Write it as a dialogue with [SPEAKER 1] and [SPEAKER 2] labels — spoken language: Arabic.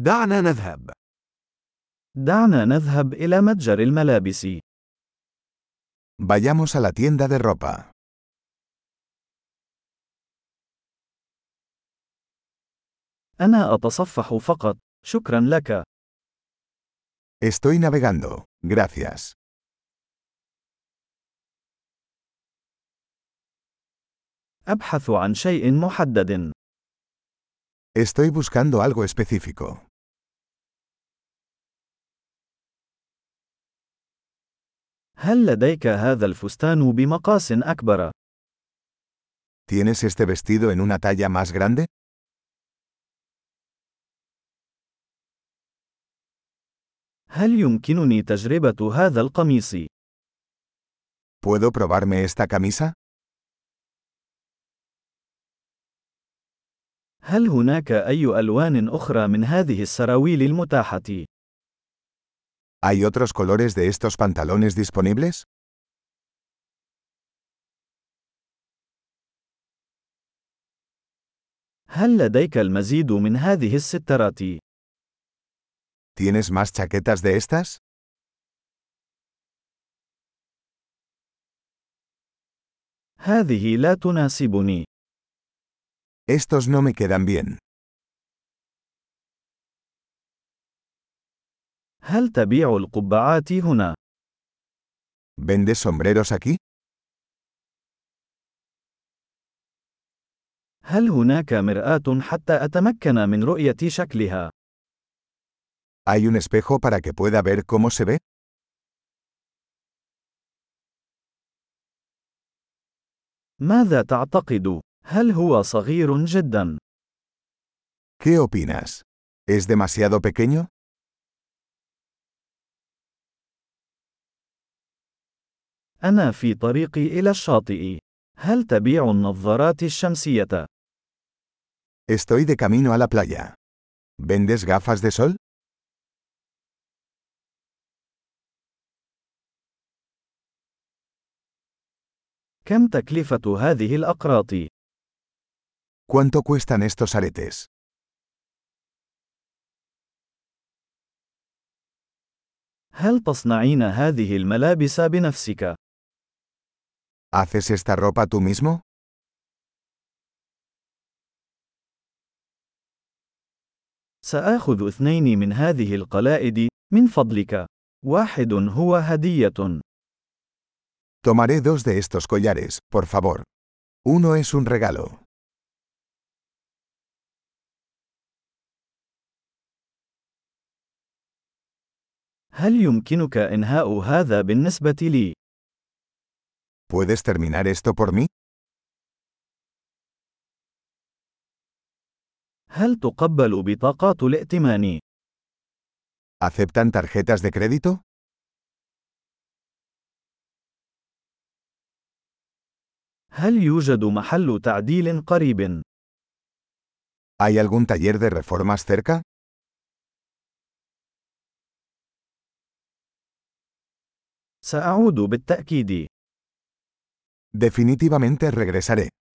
[SPEAKER 1] دعنا نذهب.
[SPEAKER 2] دعنا نذهب إلى متجر الملابس.
[SPEAKER 3] Vayamos a la tienda de ropa.
[SPEAKER 2] أنا أتصفح فقط. شكرا لك.
[SPEAKER 3] Estoy navegando. Gracias.
[SPEAKER 2] أبحث عن شيء محدد.
[SPEAKER 3] Estoy buscando algo específico.
[SPEAKER 2] هل لديك هذا الفستان بمقاس أكبر؟
[SPEAKER 3] ¿Tienes este vestido en una talla más grande?
[SPEAKER 2] هل يمكنني تجربة هذا القميص؟
[SPEAKER 3] ¿Puedo probarme esta camisa?
[SPEAKER 2] هل هناك أي ألوان أخرى من هذه السراويل المتاحة؟
[SPEAKER 3] ¿Hay otros colores de estos pantalones disponibles?
[SPEAKER 2] هل لديك المزيد من هذه السترات؟
[SPEAKER 3] ¿Tienes más chaquetas de estas?
[SPEAKER 2] هذه لا تناسبني.
[SPEAKER 3] Estos no me quedan bien.
[SPEAKER 2] هل تبيع القبعات هنا؟
[SPEAKER 3] ¿Vendes sombreros aquí?
[SPEAKER 2] هل هناك مرآة حتى أتمكن من رؤية شكلها؟
[SPEAKER 3] ¿Hay un espejo para que pueda ver cómo se ve?
[SPEAKER 2] ماذا تعتقد؟ هل هو صغير جدا؟
[SPEAKER 3] ¿Qué opinas? ¿Es demasiado pequeño?
[SPEAKER 2] أنا في طريقي إلى الشاطئ. هل تبيع النظارات الشمسية؟
[SPEAKER 3] Estoy de camino a la playa. ¿Vendes gafas de sol?
[SPEAKER 2] كم تكلفة هذه الأقراط؟
[SPEAKER 3] ¿Cuánto cuestan estos aretes?
[SPEAKER 2] هل تصنعين هذه الملابس بنفسك؟
[SPEAKER 3] ¿Haces esta ropa tú mismo?
[SPEAKER 2] سآخذ اثنين من هذه القلائد، من فضلك. واحد هو هدية.
[SPEAKER 3] Tomaré dos de estos collares, por favor. Uno es un regalo.
[SPEAKER 2] هل يمكنك إنهاء هذا بالنسبة لي؟
[SPEAKER 3] ¿Puedes terminar esto por mí?
[SPEAKER 2] هل تقبل بطاقات الائتمان؟
[SPEAKER 3] ¿Aceptan tarjetas de crédito?
[SPEAKER 2] هل يوجد محل تعديل قريب؟
[SPEAKER 3] ¿Hay algún taller de reformas cerca?
[SPEAKER 2] سأعود بالتأكيد.
[SPEAKER 3] Definitivamente regresaré.